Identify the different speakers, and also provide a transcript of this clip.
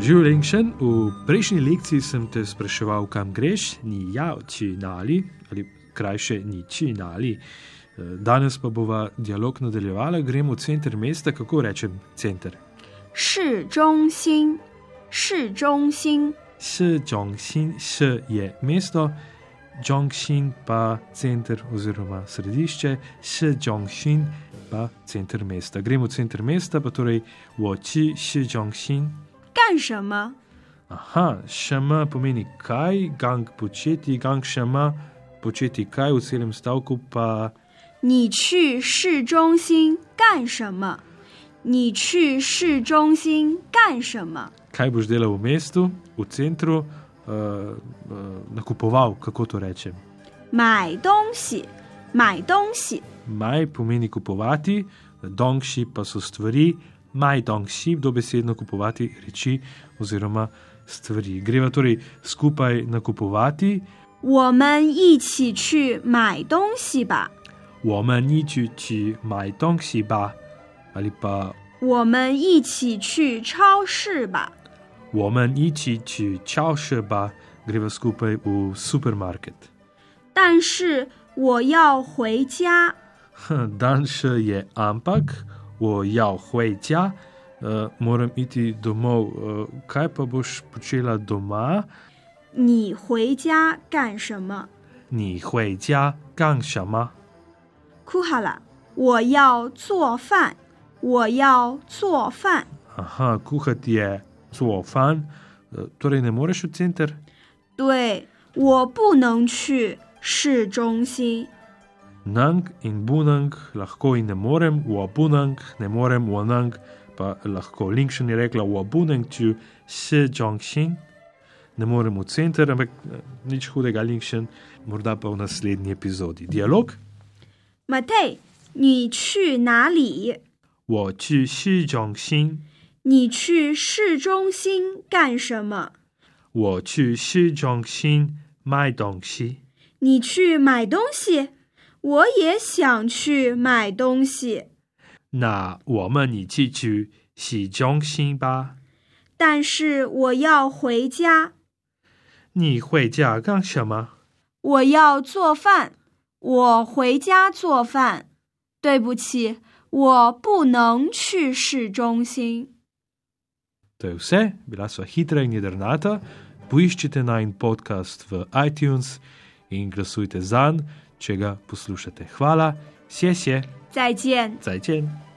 Speaker 1: Živ Lengšen, v prejšnji lekciji sem te spraševal, kam greš, ni ja, či nali, ali krajše ni či nali. Danes pa bova dialog nadaljevala, gremo v center mesta, kako rečem center.
Speaker 2: 市中心，市中心，
Speaker 1: S Jongxin, S je mesto, Jongxin pa center oziroma središče, S Jongxin pa center mesta. Gremo v center mesta, pa torej v oči S Jongxin.
Speaker 2: 干什么？
Speaker 1: Aha, šama pomeni kaj, gang početi, gang šama početi kaj, v celem stavku pa
Speaker 2: 你去市中心干什么？你去市中心干什么？
Speaker 1: kaj boš delal v mestu, v centru, uh, uh, nakupoval, kako to rečem.
Speaker 2: 买东西，买东西，
Speaker 1: Maj pomeni kupovati, dongši pa so stvari, maj dongši, dobesedno kupovati reči oziroma stvari. Greva torej skupaj nakupovati,
Speaker 2: 我们一起去买东西吧。
Speaker 1: 我们一起去买东西吧，ali pa
Speaker 2: 我们一起去超市吧。
Speaker 1: 我们一起去超市吧，greva skupaj v supermarket.
Speaker 2: 但是我要回家，
Speaker 1: Danes je ampak, o jau hojja, uh, moram iti domov. Uh, kaj pa boš počela doma?
Speaker 2: 你回家干什么？
Speaker 1: 你回家干什么？
Speaker 2: 库哈拉，我要做饭，我要做饭。
Speaker 1: Aha, kuhati je zelo fan, torej ne moreš v center.
Speaker 2: 对，我不能去市中心。
Speaker 1: Nang in bunang lahko in ne morem, v abunang ne morem, v anang pa lahko. Linkšen je rekla v abunang, če se jongšin, ne morem v center, ampak eh, nič hudega, linkšen, morda pa v naslednji epizodi. Dialog.
Speaker 2: 马蒂，你去哪里？
Speaker 1: 我去市中心，
Speaker 2: 你去市中心干什么？
Speaker 1: 我去市中心买东西。
Speaker 2: 你去买东西？我也想去买东西，
Speaker 1: 那我们一起去市中心吧。
Speaker 2: 但是我要回家，
Speaker 1: 你回家干什么？
Speaker 2: 我要做饭，我回家做饭。对不起，我不能去市中心。
Speaker 1: To je vse, bila sva hitra in jedrnata. Poiščite najn podcast v iTunes in glasujte zanj, če ga poslušate. Hvala, sje, sje,
Speaker 2: 再见。
Speaker 1: zajčen.